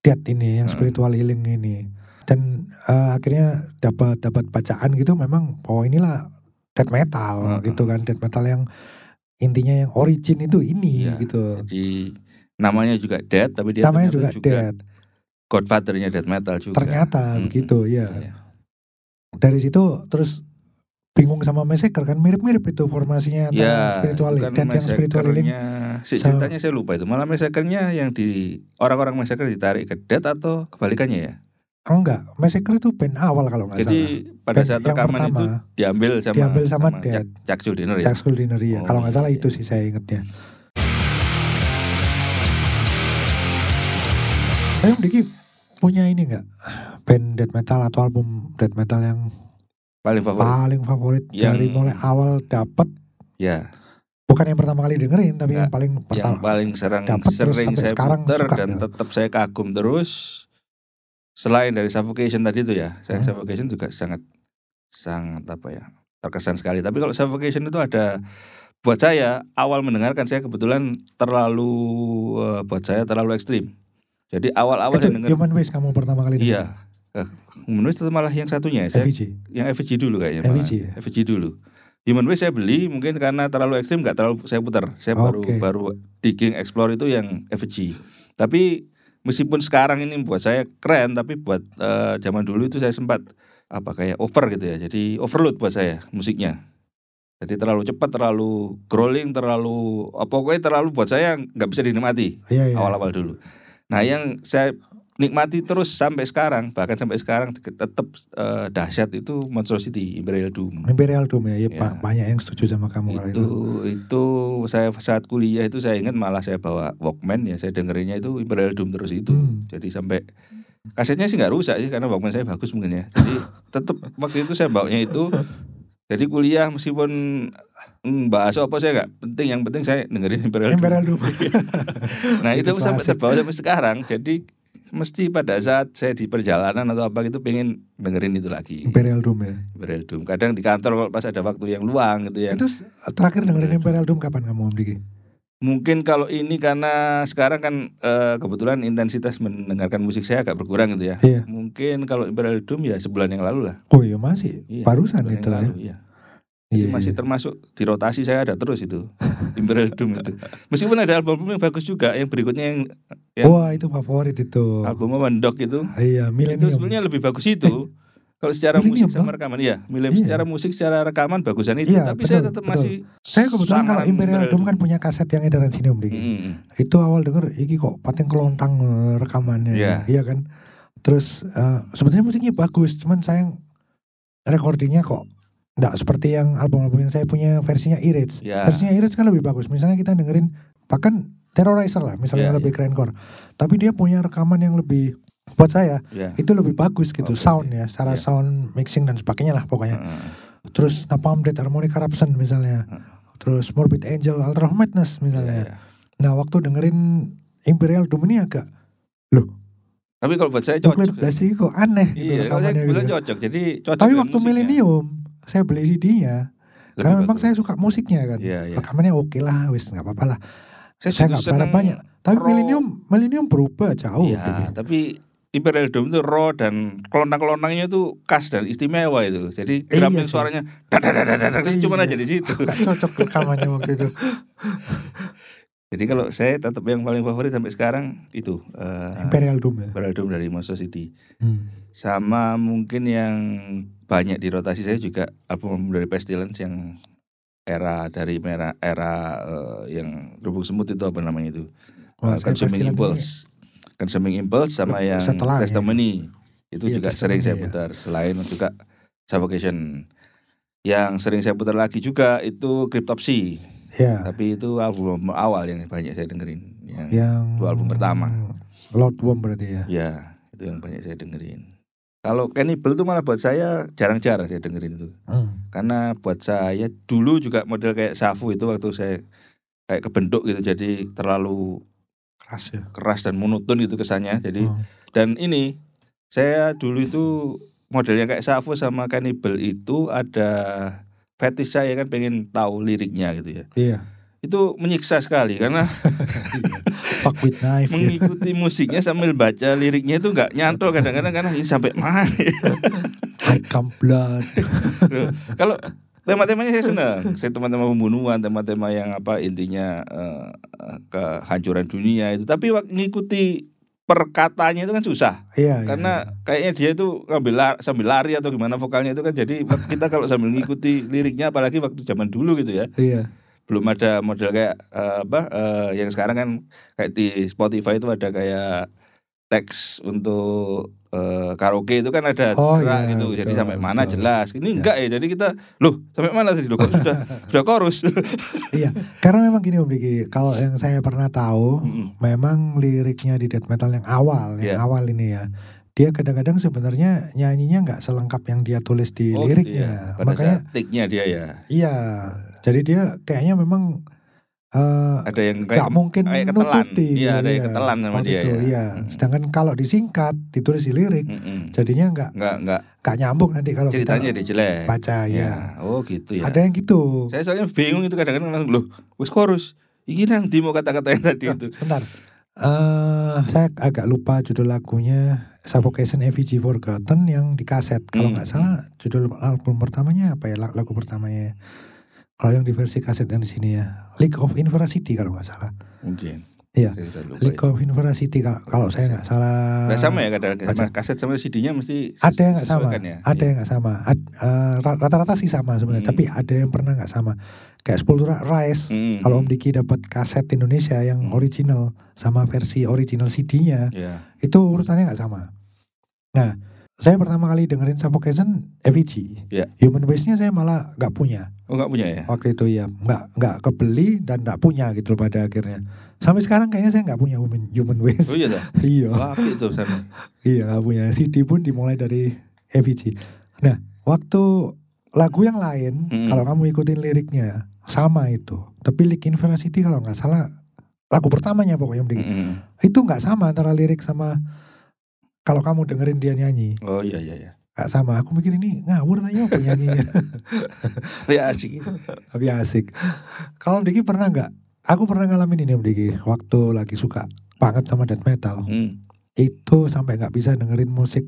B: death ini yang
A: Hmm.
B: spiritual healing ini dan eh, akhirnya dapat dapat bacaan gitu memang oh inilah death
A: Hmm.
B: metal gitu kan death metal yang intinya yang origin itu ini
A: Iya.
B: gitu
A: Jadi namanya juga Dead tapi dia
B: namanya juga,
A: ternyata
B: death
A: godfathernya Dead Metal juga.
B: ternyata
A: Mm-mm.
B: begitu ya
A: Iya.
B: dari situ terus bingung sama Massacre kan mirip-mirip itu formasinya antara
A: Ya,
B: spiritual
A: itu kan
B: death yang spiritual healing
A: massacre-nya. Si
B: sama-
A: ceritanya saya lupa itu. Malah massacre-nya yang di orang-orang massacre ditarik ke Dead atau kebalikannya ya.
B: Oh, enggak Massacre itu band awal kalau nggak salah
A: Jadi pada
B: Band
A: saat
B: yang
A: rekaman itu
B: pertama.
A: diambil sama
B: Diambil sama Dead.
A: Jack, Jack Schuldiner ya.
B: Jack Schuldiner ya
A: Oh,
B: kalau nggak salah
A: iya.
B: itu sih saya ingetnya Ayo Diki punya ini nggak band death metal atau album death metal yang
A: paling favorit.
B: paling favorit
A: Yang-
B: dari mulai awal dapat
A: Ya,
B: bukan yang pertama kali dengerin tapi yang
A: Nggak,
B: paling
A: yang
B: pertama
A: paling serang
B: dapat terus
A: sering
B: sampai
A: saya
B: sekarang
A: puter
B: suka
A: dan
B: ya.
A: tetap saya kagum terus. Selain dari Suffocation tadi itu ya, saya
B: Hmm.
A: Suffocation juga sangat sangat apa ya terkesan sekali. Tapi kalau Suffocation itu ada buat saya awal mendengarkan saya kebetulan terlalu eh, buat saya terlalu ekstrim. Jadi awal-awal
B: itu
A: saya dengar
B: Human Waste kamu pertama kali
A: iya.
B: dengerin
A: Eh, Menurut itu malah yang satunya ya. Saya
B: FEG.
A: yang FVG dulu kayaknya malah.
B: FVG, ya?
A: FVG dulu Human Waste saya beli mungkin karena terlalu ekstrim nggak terlalu saya putar saya baru
B: Oke.
A: baru digging explore itu yang FVG tapi meskipun sekarang ini buat saya keren tapi buat eh, zaman dulu itu saya sempat apa kayak over gitu ya jadi overload buat saya musiknya jadi terlalu cepat terlalu growling eh, terlalu apa pokoknya terlalu buat saya nggak bisa dinikmati
B: iya iya
A: awal-awal dulu nah yang saya nikmati terus sampai sekarang bahkan sampai sekarang tetap eh, dahsyat itu Monstrosity Imperial Doom
B: Imperial Dome
A: Ya.
B: ya, ya, Pak, banyak yang setuju sama kamu kalau
A: itu
B: itu.
A: itu saya saat kuliah itu saya ingat malah saya bawa Walkman ya saya dengerinnya itu Imperial Doom terus itu
B: Hmm.
A: jadi sampai kasetnya sih nggak rusak sih karena Walkman saya bagus mungkin ya jadi tetap waktu itu saya bawanya itu jadi kuliah meskipun mm, bahas apa saya nggak penting yang penting saya dengerin Imperial, Doom.
B: Imperial Dome.
A: nah itu
B: Itu
A: sampai
B: klasik.
A: terbawa sampai sekarang jadi mesti pada saat saya di perjalanan atau apa gitu pengen dengerin itu lagi
B: Imperial Dome ya.
A: Imperial Doom kadang di kantor kalau pas ada waktu yang luang gitu ya
B: Itu s- terakhir
A: Iya.
B: dengerin Imperial Dome kapan kamu Om Diki?
A: Mungkin kalau ini karena sekarang kan eh, kebetulan intensitas mendengarkan musik saya agak berkurang gitu ya.
B: Iya.
A: Mungkin kalau Imperial Doom ya sebulan yang lalu lah.
B: Oh iya masih
A: Iya,
B: barusan
A: sebulan yang
B: itu ya.
A: lalu, iya. Jadi
B: Iya,
A: masih
B: iya.
A: termasuk di rotasi saya ada terus itu Imperial Doom itu. Meskipun ada album yang bagus juga, yang berikutnya yang ya.
B: Wah itu favorit itu.
A: albumnya Mendok itu,
B: Iya
A: itu
B: milenium.
A: sebenarnya lebih bagus itu. Kalau secara
B: Millennium,
A: musik sama
B: Bang.
A: rekaman, iya, milih
B: Iya.
A: secara musik, secara rekaman bagusan itu.
B: Iya,
A: Tapi saya
B: betul,
A: tetap
B: betul.
A: masih.
B: Saya kebetulan kalau
A: sangat
B: Imperial Dome kan punya kaset yang edaran sini Om Diki.
A: Mm-mm.
B: itu awal denger iki kok pating kelontang eh, rekamannya
A: Iya.
B: iya kan terus eh, sebenarnya musiknya bagus cuman sayang recordingnya kok nggak seperti yang album-album yang saya punya versinya Irage
A: Iya.
B: versinya Irage kan lebih bagus misalnya kita dengerin bahkan Terrorizer lah
A: Iya,
B: misalnya lebih keren core tapi dia punya rekaman yang lebih buat saya
A: Iya.
B: itu lebih bagus gitu
A: Oke,
B: sound ya secara
A: Iya.
B: sound mixing dan sebagainya lah pokoknya
A: Heeh.
B: terus Napalm Death Harmonic Corruption misalnya
A: Heeh.
B: terus Morbid Angel Altar of Madness misalnya
A: Iya, iya.
B: Nah waktu dengerin Imperial Doom ini agak
A: Tapi kalau buat saya cocok.
B: coklat
A: ya.
B: blasi kok aneh gitu
A: Iya, kalau saya
B: rekamannya
A: kebetulan
B: gitu.
A: cocok. Jadi cocok.
B: Tapi
A: dengan
B: waktu
A: musiknya.
B: milenium saya beli CD-nya
A: Lebih
B: karena memang
A: bagus.
B: saya suka musiknya kan.
A: Iya, iya.
B: Rekamannya oke lah, wis nggak apa-apa lah. Saya
A: justru
B: nggak berharap
A: seneng
B: banyak. Tapi
A: raw.
B: milenium milenium berubah jauh.
A: Iya,
B: gitu.
A: tapi Imperial Dome itu raw dan kelontang-kelontangnya itu khas dan istimewa itu. Jadi
B: Iya
A: drumming
B: sih.
A: suaranya dadadadadadad, itu cuma
B: Iya.
A: aja di situ.
B: Nggak cocok rekamannya waktu itu.
A: Jadi kalau saya tetap yang paling favorit sampai sekarang itu eh,
B: Imperial Doom ya.
A: Imperial Dome dari Monster City.
B: Hmm.
A: Sama mungkin yang banyak di rotasi saya juga album dari Pestilence yang era dari era era eh, yang rubuk semut itu apa namanya itu
B: Wah, saya
A: Consuming
B: pasti lagi-
A: Kan Impulse. Consuming Impulse sama
B: Lebih
A: yang
B: setelah ya.
A: Testimony. Itu
B: Iya,
A: juga
B: Testimony,
A: sering saya
B: ya.
A: putar. Selain juga Suffocation. Yang sering saya putar lagi juga itu Cryptopsy.
B: Iya.
A: Tapi itu album awal yang banyak saya dengerin. Yang, ya.
B: Yang
A: Dua album pertama.
B: Lord Bomb berarti ya.
A: itu yang banyak saya dengerin. Kalau Cannibal itu malah buat saya jarang-jarang saya dengerin itu.
B: Hmm.
A: Karena buat saya dulu juga model kayak Safu itu waktu saya kayak kebentuk gitu jadi terlalu
B: Keras ya.
A: keras dan monoton gitu kesannya. Jadi
B: Hmm.
A: Dan ini saya dulu itu modelnya kayak Safo sama Cannibal itu ada fetish saya kan pengen tahu liriknya gitu ya.
B: Iya.
A: Itu menyiksa sekali karena
B: Fuck with knife. gitu.
A: mengikuti musiknya sambil baca liriknya itu nggak nyantol kadang-kadang karena ini sampai mana. ya.
B: I come blood.
A: Loh, Kalau tema-temanya saya senang, saya tema-tema pembunuhan, tema-tema yang apa intinya eh, eh, kehancuran dunia itu. Tapi wak- ngikuti perkatanya itu kan susah.
B: Iya. iya.
A: karena kayaknya dia itu ngambil lar- sambil lari atau gimana vokalnya itu kan jadi kita kalau sambil ngikuti liriknya apalagi waktu zaman dulu gitu ya
B: Iya.
A: belum ada model kayak eh, apa eh, yang sekarang kan kayak di Spotify itu ada kayak teks untuk eh, karaoke itu kan ada
B: Oh,
A: gerak
B: iya,
A: gitu jadi
B: betul,
A: sampai mana
B: betul. Iya.
A: jelas ini enggak ya jadi kita loh sampai mana tadi loh kok sudah sudah chorus
B: iya. Karena memang gini Om Diki, kalau yang saya pernah tahu,
A: Mm-mm.
B: memang liriknya di death metal yang awal,
A: Iya.
B: yang awal ini ya. Dia kadang-kadang sebenarnya nyanyinya nggak selengkap yang dia tulis di
A: Oh, gitu ya.
B: liriknya.
A: pada
B: Makanya
A: saat take-nya dia ya
B: iya. Jadi dia kayaknya memang eh
A: ada yang kayak
B: nggak mungkin
A: kayak
B: kayak
A: ketelan. Iya, ada yang ketelan sama dia, ya.
B: Iya.
A: Mm.
B: Sedangkan kalau disingkat ditulis di lirik,
A: Mm-mm.
B: jadinya nggak
A: nggak nggak
B: nggak nyambung nanti kalau
A: hmm. ceritanya
B: kita
A: dia jelek
B: baca ya.
A: ya oh gitu ya
B: Ada yang gitu.
A: Saya soalnya bingung itu kadang-kadang langsung loh, wis chorus. Iki nang di mau kata-kata yang tadi itu.
B: Bentar. eh saya agak lupa judul lagunya Suffocation AVG Forgotten yang di kaset.
A: Hmm,
B: Kalau nggak salah judul album pertamanya apa ya la- lagu pertamanya. ya. Kalau yang di versi kaset yang di sini ya, League of Inveracity kalau nggak salah.
A: Mungkin.
B: Iya.
A: Saya sudah lupa itu.
B: Lincoln University kalau, kalau saya nggak salah.
A: Nah, sama ya kadang-kadang
B: baca.
A: sama kaset sama CD-nya mesti ses-
B: Ada yang nggak sama,
A: sesuaikan ya.
B: ada
A: Iya.
B: yang nggak sama. Ad- eh, ra- Rata-rata sih sama sebenarnya,
A: Hmm.
B: tapi ada yang pernah nggak sama. Kayak Sepultura Rise,
A: Mm,
B: kalau Om
A: mm.
B: Diki dapat kaset Indonesia yang
A: Hmm.
B: original sama versi original CD-nya,
A: Iya.
B: itu urutannya nggak sama. Nah, saya pertama kali dengerin Suffocation FEG.
A: Iya.
B: Human Waste-nya saya malah nggak punya.
A: Oh nggak punya ya?
B: Waktu itu ya nggak nggak kebeli dan nggak punya gitu loh pada akhirnya. Sampai sekarang kayaknya saya nggak punya human human
A: Oh
B: waste.
A: iya dah.
B: iya
A: Wah, apik Hmm, tuh sana.
B: iya nggak punya. CD pun dimulai dari FEG. Nah waktu lagu yang lain
A: Hmm.
B: kalau kamu ikutin liriknya sama itu. Tapi Lick University kalau nggak salah lagu pertamanya pokoknya mending.
A: Mm, mm.
B: itu nggak sama antara lirik sama kalau kamu dengerin dia nyanyi
A: Oh iya iya iya.
B: nggak sama aku mikir ini ngawur tanya apa nyanyinya
A: Oh, Ya asik.
B: tapi asik kalau Om Diki pernah nggak aku pernah ngalamin ini Om Diki waktu lagi suka banget sama death metal
A: Mm.
B: itu sampai nggak bisa dengerin musik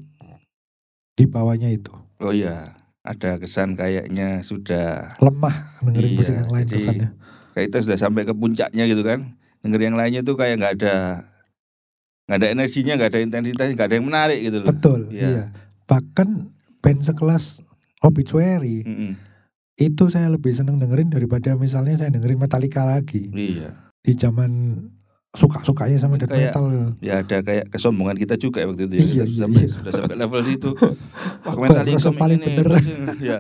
B: di bawahnya itu
A: Oh iya. Ada kesan kayaknya sudah
B: lemah dengerin
A: Iya,
B: musik yang lain
A: jadi-
B: kesannya
A: kayak itu sudah sampai ke puncaknya gitu kan. Denger yang lainnya tuh kayak nggak ada nggak ada energinya, nggak ada intensitas, nggak ada yang menarik gitu loh.
B: betul
A: Iya.
B: iya bahkan band sekelas obituary
A: Mm, mm.
B: itu saya lebih seneng dengerin daripada misalnya saya dengerin Metallica lagi
A: Iya.
B: di zaman suka-sukanya sama death
A: Kayak-
B: metal.
A: Ya ada kayak kesombongan kita juga ya waktu itu ya.
B: Iya,
A: Kita
B: iya,
A: sampai,
B: iya.
A: Sudah sampai level itu. Wah,
B: Baru
A: mental
B: rasa
A: income
B: paling
A: ini.
B: bener.
A: Iya.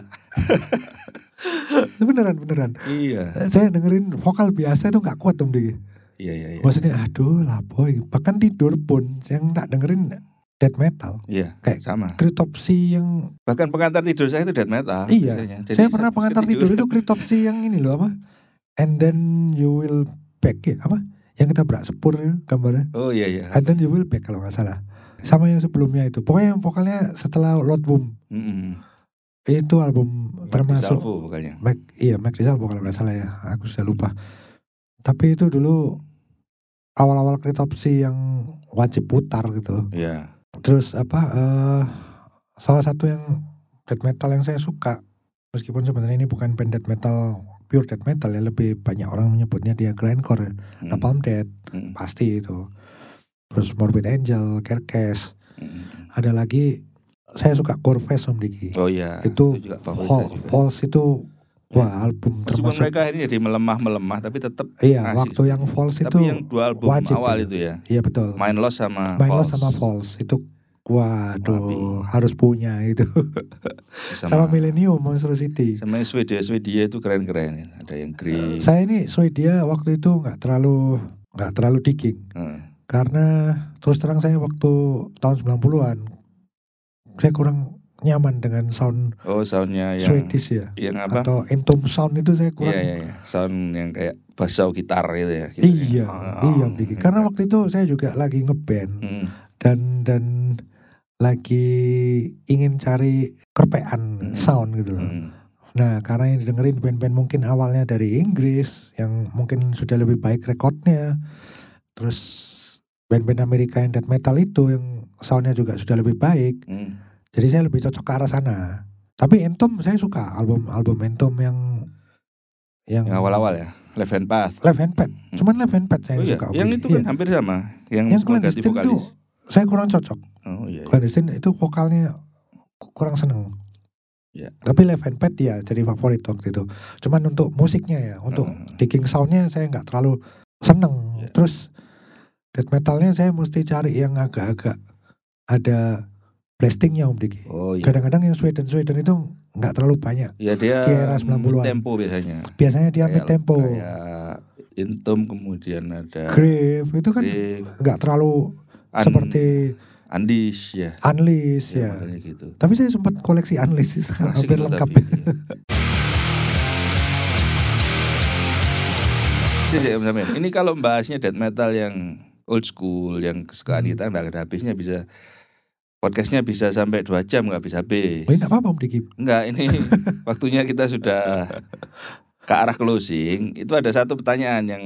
B: Beneran beneran.
A: Iya.
B: Eh, Saya dengerin vokal biasa itu nggak kuat om Diki.
A: Iya, iya, iya.
B: Maksudnya aduh lah boy. Bahkan tidur pun yang tak dengerin death metal.
A: Iya,
B: Kayak
A: sama.
B: Kritopsi yang
A: Bahkan pengantar tidur saya itu death metal.
B: Iya.
A: biasanya. Jadi
B: saya pernah pengantar
A: tidur.
B: tidur. itu kritopsi yang ini loh apa? And then you will back ya apa? Yang kita berak sepur ya, gambarnya.
A: Oh iya iya.
B: And then you will back kalau nggak salah. Sama yang sebelumnya itu. Pokoknya yang vokalnya setelah Lord Boom
A: Mm-mm.
B: itu album
A: Mark
B: termasuk
A: DeSalvo vokalnya.
B: Mac, iya Mac Rizalbo kalau nggak salah ya, aku sudah lupa. Tapi itu dulu awal-awal kritopsi yang wajib putar gitu.
A: Iya.
B: Terus apa? eh salah satu yang death metal yang saya suka, meskipun sebenarnya ini bukan band death metal pure death metal ya, lebih banyak orang menyebutnya dia grindcore, ya.
A: Mm,
B: Napalm Death
A: mm,
B: pasti itu. Terus Morbid Angel, Kerkes,
A: mm.
B: ada lagi saya suka Corvus Om Diki.
A: Oh iya.
B: Itu
A: juga favorit saya
B: Fal-
A: juga.
B: False itu wah album
A: Meskipun
B: termasuk
A: mereka ini jadi melemah-melemah tapi tetap
B: Iya,
A: Ngasih.
B: waktu yang false itu
A: Nah, tapi yang dua album
B: wajib
A: awal
B: ya.
A: itu ya.
B: iya betul.
A: Main Lost sama
B: Main Lost
A: False.
B: sama false itu waduh
A: Tapi-
B: harus punya itu.
A: sama
B: Sama, Millennium Monster City.
A: sama yang Swedia Swedia itu keren-keren. Ada yang Grey.
B: Saya ini Swedia waktu itu nggak terlalu nggak terlalu digging
A: Heeh.
B: karena terus terang saya waktu tahun 90-an saya kurang nyaman dengan sound
A: Oh soundnya yang
B: Swedish ya
A: yang apa?
B: atau Entom sound itu saya
A: Iya
B: kurang
A: iya iya. Sound yang kayak basau gitar gitu ya. gitu ya.
B: Iya,
A: Oh,
B: iya, Diki. karena waktu itu saya juga lagi ngeband.
A: Mm,
B: dan dan lagi ingin cari kerpean
A: Hmm.
B: sound gitu loh.
A: mm.
B: Nah, karena yang didengerin band-band mungkin awalnya dari Inggris yang mungkin sudah lebih baik rekodnya. Terus band-band Amerika yang death metal itu yang soundnya juga sudah lebih baik.
A: Mm.
B: Jadi saya lebih cocok ke arah sana. Tapi Entom saya suka album-album Entom yang yang
A: Yang awal-awal ya. Left Hand Path.
B: Left Hand Pad. Cuman Left Hand Pad saya
A: Oh iya,
B: suka.
A: yang itu kan
B: Iya.
A: hampir sama. Yang,
B: yang
A: cuma ganti
B: clandestine itu
A: vokalis.
B: saya kurang cocok.
A: Oh iya. iya.
B: Clandestine itu vokalnya ku- kurang seneng.
A: Ya.
B: Tapi Left Hand Pad ya jadi favorit waktu itu. Cuman untuk musiknya ya, untuk
A: Heeh.
B: digging soundnya saya nggak terlalu seneng.
A: Ya.
B: Terus death metalnya saya mesti cari yang agak-agak ada blastingnya Om Diki.
A: Oh iya.
B: Kadang-kadang yang Sweden Sweden itu nggak terlalu banyak.
A: Ya dia
B: Kira 90-an.
A: tempo biasanya.
B: Biasanya dia
A: Kayak- ya.
B: mid Iya, tempo.
A: Kayak Intum kemudian ada
B: Grave itu kan
A: Grave,
B: nggak terlalu
A: An-
B: seperti
A: Andis ya.
B: Unleash
A: Ya,
B: ya.
A: makanya gitu.
B: Tapi saya sempat koleksi Unleash
A: Asik
B: hampir
A: itu
B: lengkap.
A: gitu tapi. Sih, sih, Om Samin. Ini kalau bahasnya death metal yang old school, yang kesukaan
B: Hmm.
A: kita nggak ada habisnya bisa podcastnya bisa sampai dua jam nggak bisa habis.
B: Oh, Ini apa Om Diki?
A: Enggak, ini waktunya kita sudah ke arah closing. Itu ada satu pertanyaan yang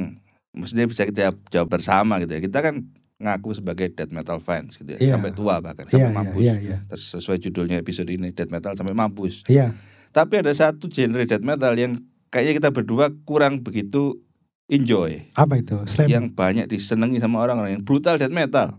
A: mestinya bisa kita jawab bersama gitu ya. Kita kan ngaku sebagai death metal fans gitu ya,
B: Iya.
A: sampai tua bahkan sampai
B: Iya, iya,
A: mampus.
B: iya, iya.
A: Terus sesuai judulnya episode ini death metal sampai mampus.
B: Iya.
A: Tapi ada satu genre death metal yang kayaknya kita berdua kurang begitu enjoy
B: Apa itu? Slam.
A: yang banyak disenangi sama orang-orang yang brutal death metal.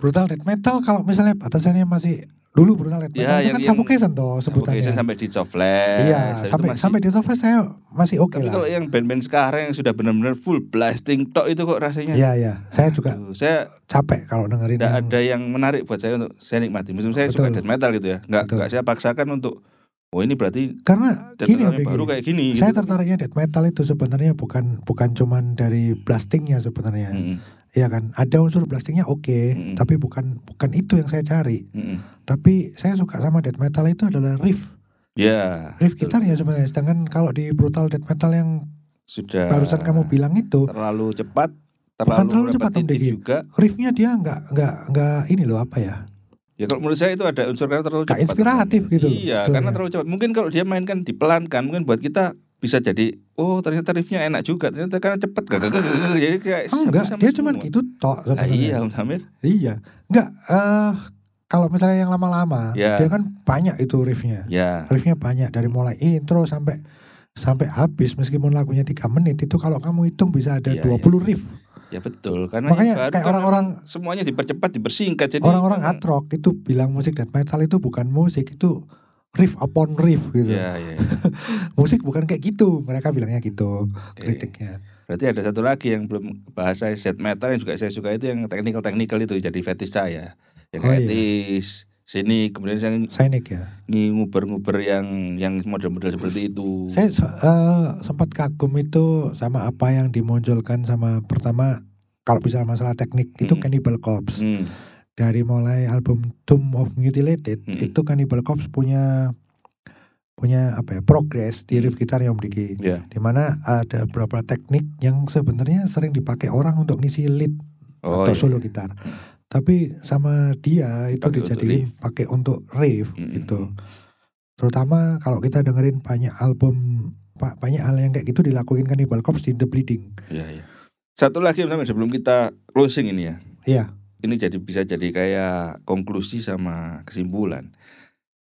B: Brutal death metal kalau misalnya batasannya masih dulu brutal death metal
A: Ya,
B: itu
A: yang-
B: kan
A: yang-
B: suffocation toh
A: Suffocation
B: sebutannya.
A: sampai di Coflash.
B: Iya,
A: itu
B: sampai
A: masih-
B: sampai di Tolfest saya masih oke
A: Tapi
B: lah.
A: kalau yang band-band sekarang yang sudah benar-benar full blasting tok itu kok rasanya.
B: Iya, iya. Saya juga
A: Aduh, saya
B: capek kalau dengerin
A: tidak
B: yang-
A: ada yang menarik buat saya untuk saya nikmati. Meskipun saya suka
B: Betul.
A: death metal gitu ya. Nggak,
B: Betul.
A: nggak saya paksakan untuk oh ini berarti
B: karena
A: death
B: gini ya,
A: metalnya
B: Begi.
A: baru kayak gini.
B: Saya
A: gitu.
B: tertariknya death metal itu sebenarnya bukan bukan cuman dari blastingnya sebenarnya.
A: Mm-mm,
B: Iya kan? Ada unsur blastingnya oke,
A: Mm-mm.
B: tapi bukan bukan itu yang saya cari.
A: mm-mm.
B: Tapi saya suka sama death metal itu adalah riff.
A: Ya.
B: Riff
A: betul.
B: gitar ya sebenarnya. Sedangkan kalau di brutal death metal yang
A: sudah
B: barusan
A: Ya.
B: kamu bilang itu,
A: terlalu cepat,
B: Bukan
A: terlalu,
B: terlalu cepat, Om
A: repetitif
B: Degi.
A: juga.
B: riffnya dia nggak nggak nggak ini loh apa ya?
A: Ya kalau menurut saya itu ada unsur karena terlalu
B: Nggak
A: cepat.
B: inspiratif gitu loh,
A: Iya,
B: sebetulnya.
A: karena terlalu cepat. Mungkin kalau dia mainkan dipelankan mungkin buat kita bisa jadi oh ternyata riffnya enak juga ternyata karena cepat gak gak gak gak, gak. jadi kayak
B: Enggak,
A: sama-sama
B: Ah, dia cuman
A: semua.
B: gitu tok
A: Lah
B: sebenarnya.
A: iya Om Samir.
B: Iya. Enggak eh kalau misalnya yang lama-lama,
A: Ya.
B: dia kan banyak itu riffnya.
A: Ya.
B: riffnya banyak dari mulai intro sampai sampai habis meskipun lagunya tiga menit itu kalau kamu hitung bisa ada
A: Iya,
B: 20 riff
A: Ya betul karena
B: makanya
A: yang baru
B: kayak
A: kan
B: orang-orang
A: memang semuanya dipercepat dipersingkat jadi
B: orang-orang
A: memang-
B: hard rock itu bilang musik death metal itu bukan musik itu riff upon riff gitu
A: Ya, ya.
B: musik bukan kayak gitu mereka bilangnya gitu
A: Iya.
B: kritiknya
A: Berarti ada satu lagi yang belum bahas saya set metal yang juga saya suka itu yang technical technical itu jadi fetish saya. Yang
B: Oh, iya.
A: etis sini kemudian saya
B: Sainik ya
A: ngi- nguber-nguber yang yang model-model seperti itu.
B: saya se- eh, sempat kagum itu sama apa yang dimunculkan sama pertama kalau bisa masalah teknik itu
A: Mm.
B: Cannibal Corpse
A: Hmm,
B: dari mulai album Tomb of Mutilated
A: Mm-mm.
B: itu Cannibal Corpse punya punya apa ya progress di riff gitar yang Diki
A: ya.
B: di mana ada beberapa teknik yang sebenarnya sering dipakai orang untuk ngisi lead
A: Oh, iya.
B: atau solo gitar tapi sama dia itu
A: Dipakai untuk
B: dijadiin pakai untuk riff
A: Mm-mm.
B: gitu terutama kalau kita dengerin banyak album Pak, banyak hal yang kayak gitu dilakuin Cannibal Corpse di The Bleeding
A: Iya, iya. Satu lagi Mas Amir, sebelum kita closing ini ya.
B: Iya.
A: Ini jadi bisa jadi kayak konklusi sama kesimpulan.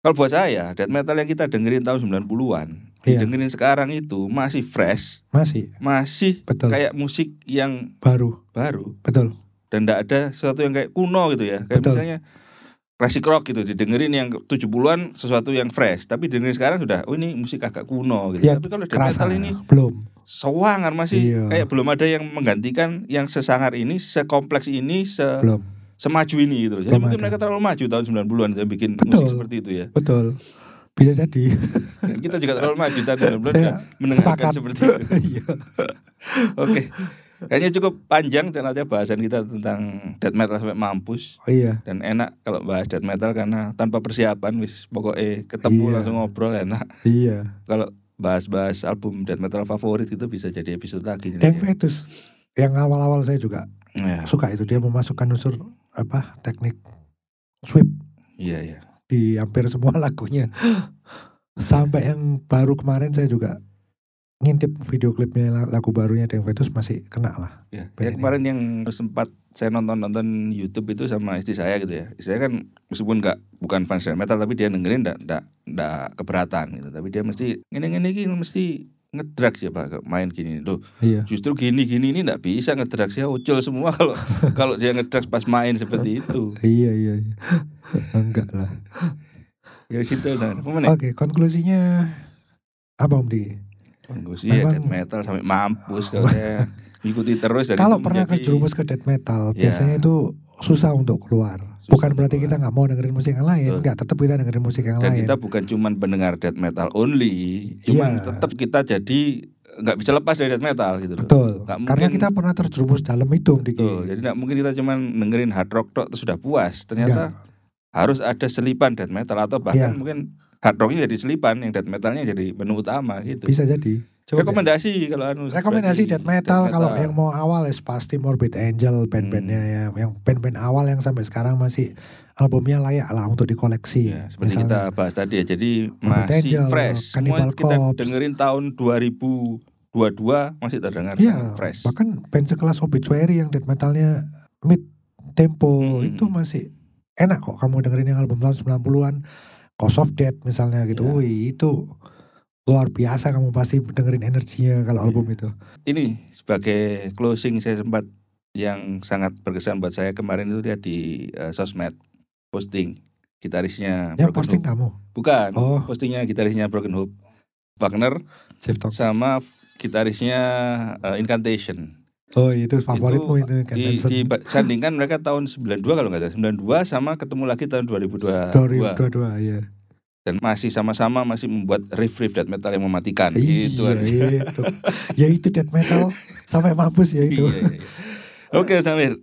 A: Kalau buat saya, death metal yang kita dengerin tahun 90-an,
B: Iya.
A: dengerin sekarang itu masih fresh,
B: masih
A: masih
B: betul
A: kayak musik yang
B: baru
A: baru
B: betul
A: dan tidak ada sesuatu yang kayak kuno gitu ya. Kayak
B: Betul.
A: misalnya klasik rock gitu didengerin yang 70-an sesuatu yang fresh, tapi dengerin sekarang sudah oh ini musik agak kuno gitu.
B: Iya,
A: tapi kalau death
B: kerasa
A: metal ini
B: belum
A: sewangar masih
B: Iya.
A: kayak belum ada yang menggantikan yang sesangar ini, sekompleks ini, se-
B: belum
A: semaju ini gitu. loh. Jadi
B: Belum
A: mungkin
B: ada.
A: mereka terlalu maju tahun 90-an itu bikin musik
B: Betul.
A: seperti itu ya.
B: betul bisa jadi
A: Dan kita juga terlalu maju tahun 90-an
B: Saya
A: juga mendengarkan
B: sepakat.
A: seperti itu.
B: Iya.
A: Oke. Kayaknya cukup panjang ternyata bahasan kita tentang death metal sampai mampus
B: Oh iya.
A: dan enak kalau bahas death metal karena tanpa persiapan wis pokoknya ketemu
B: Iya.
A: langsung ngobrol enak.
B: Iya.
A: Kalau bahas-bahas album death metal favorit itu bisa jadi episode lagi.
B: Yang fetus yang awal-awal saya juga
A: Ya,
B: suka itu dia memasukkan unsur apa teknik sweep
A: iya, iya.
B: di hampir semua lagunya. Sampai yang baru kemarin saya juga ngintip video klipnya la- lagu barunya Deng Fetus masih kena lah.
A: Ya,
B: Band
A: yang
B: ini.
A: kemarin yang sempat saya nonton-nonton YouTube itu sama istri saya gitu ya. Istri saya kan meskipun nggak bukan fans death metal tapi dia dengerin nggak nggak nggak keberatan gitu. Tapi dia mesti ini ini gini mesti ngedrak sih pak main gini loh
B: Iya.
A: justru gini gini ini nggak bisa ngedrak saya ucul semua kalau kalau dia ngedrak pas main seperti itu
B: Iya iya. iya. Enggak lah.
A: ya situ nah apa mana
B: Oke, konklusinya apa Om Diki?
A: Bagus, iya,
B: memang-
A: death metal sampai mampus kalau saya ikuti terus dan
B: Kalau
A: itu
B: pernah
A: menjadi-
B: terjerumus ke death metal,
A: Ya.
B: biasanya itu susah untuk keluar.
A: Susah
B: Bukan berarti
A: keluar.
B: kita nggak mau dengerin musik yang lain,
A: Betul.
B: nggak tetap kita dengerin musik yang
A: Dan
B: lain.
A: kita bukan cuman pendengar death metal only, cuman
B: Iya.
A: tetap kita jadi nggak bisa lepas dari death metal gitu loh.
B: Betul.
A: Nggak
B: Karena
A: mungkin-
B: kita pernah terjerumus dalam itu, Om Diki.
A: Betul. Jadi nggak mungkin kita cuman dengerin hard rock tok terus sudah puas. Ternyata harus ada selipan death metal atau bahkan
B: Iya.
A: mungkin hard rocknya jadi selipan, yang death metalnya jadi menu utama gitu.
B: Bisa jadi. Cukup ya?
A: Rekomendasi kalau anu
B: Rekomendasi
A: berarti
B: death metal, kalau yang mau awal ya pasti Morbid Angel band-bandnya
A: Hmm.
B: ya, yang band-band awal yang sampai sekarang masih albumnya layak lah untuk dikoleksi.
A: Ya, seperti
B: Misalnya,
A: kita bahas tadi ya. Jadi
B: Morbid
A: masih
B: Angel,
A: fresh.
B: Cannibal
A: Semua kita
B: Corpse.
A: dengerin tahun 2022 masih terdengar
B: Iya,
A: fresh.
B: bahkan band sekelas Obituary yang death metalnya mid tempo
A: Hmm.
B: itu masih enak kok kamu dengerin yang album tahun 90-an Cause of Death misalnya gitu.
A: Iya.
B: Wih, itu luar biasa kamu pasti dengerin energinya kalau album itu.
A: Ini sebagai closing saya sempat yang sangat berkesan buat saya kemarin itu dia di eh, sosmed posting gitarisnya Broken
B: Yang Ya, posting
A: Hope.
B: kamu.
A: Bukan,
B: Oh.
A: postingnya gitarisnya Broken Hope. Wagner
B: Jeff Talk.
A: sama gitarisnya eh, Incantation.
B: Oh, itu favoritmu itu, kan.
A: Di, disandingkan mereka tahun 92 kalau nggak salah. 92 sama ketemu lagi tahun 2022.
B: 2022 ya.
A: dan masih sama-sama masih membuat riff riff death metal yang mematikan gitu
B: Iya,
A: harusnya.
B: itu. ya itu death metal sampai mampus ya itu.
A: Iya, iya, iya. oke Samir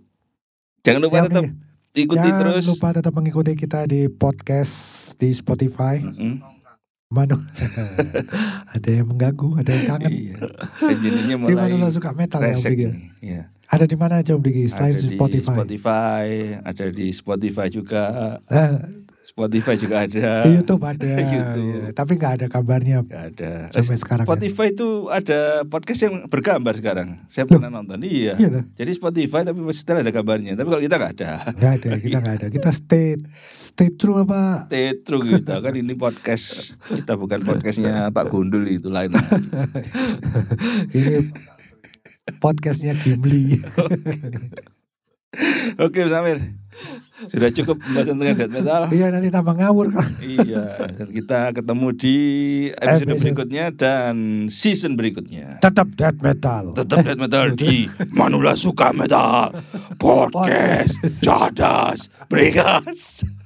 A: jangan lupa
B: Ya,
A: tetap
B: nih,
A: ikuti
B: jangan
A: terus
B: lupa tetap mengikuti kita di podcast di Spotify.
A: Mm-mm.
B: Manu. ada yang mengganggu, ada yang kangen.
A: iya engineer-nya
B: Di mana lo
A: mulai
B: suka metal ya, Om
A: resek
B: Diki?
A: nih. Iya.
B: Ada di mana aja Om Diki selain
A: ada
B: di Spotify?
A: Spotify ada di Spotify juga
B: Eh,
A: Spotify juga ada
B: di YouTube ada,
A: Ah. YouTube.
B: ya. tapi nggak ada kabarnya
A: Nggak ada Eh,
B: sampai sekarang. ya.
A: Spotify itu ada podcast yang bergambar sekarang saya
B: Loh.
A: pernah nonton iya
B: Iya toh?
A: jadi Spotify tapi setelah ada gambarnya tapi kalau kita nggak ada
B: Nggak ada, kita nggak ada. Kita stay stay true apa?
A: Tetru gitu kan ini podcast kita bukan podcastnya Pak Gundul itu lain.
B: Ini podcastnya Gimli.
A: Oke Samir sudah cukup pembahasan tentang death metal.
B: Iya nanti tambah ngawur kan.
A: iya dan kita ketemu di episode
B: Episode.
A: berikutnya dan season berikutnya.
B: Tetap death metal.
A: Tetap death metal di Manula Suka Metal Podcast Cadas Berikas.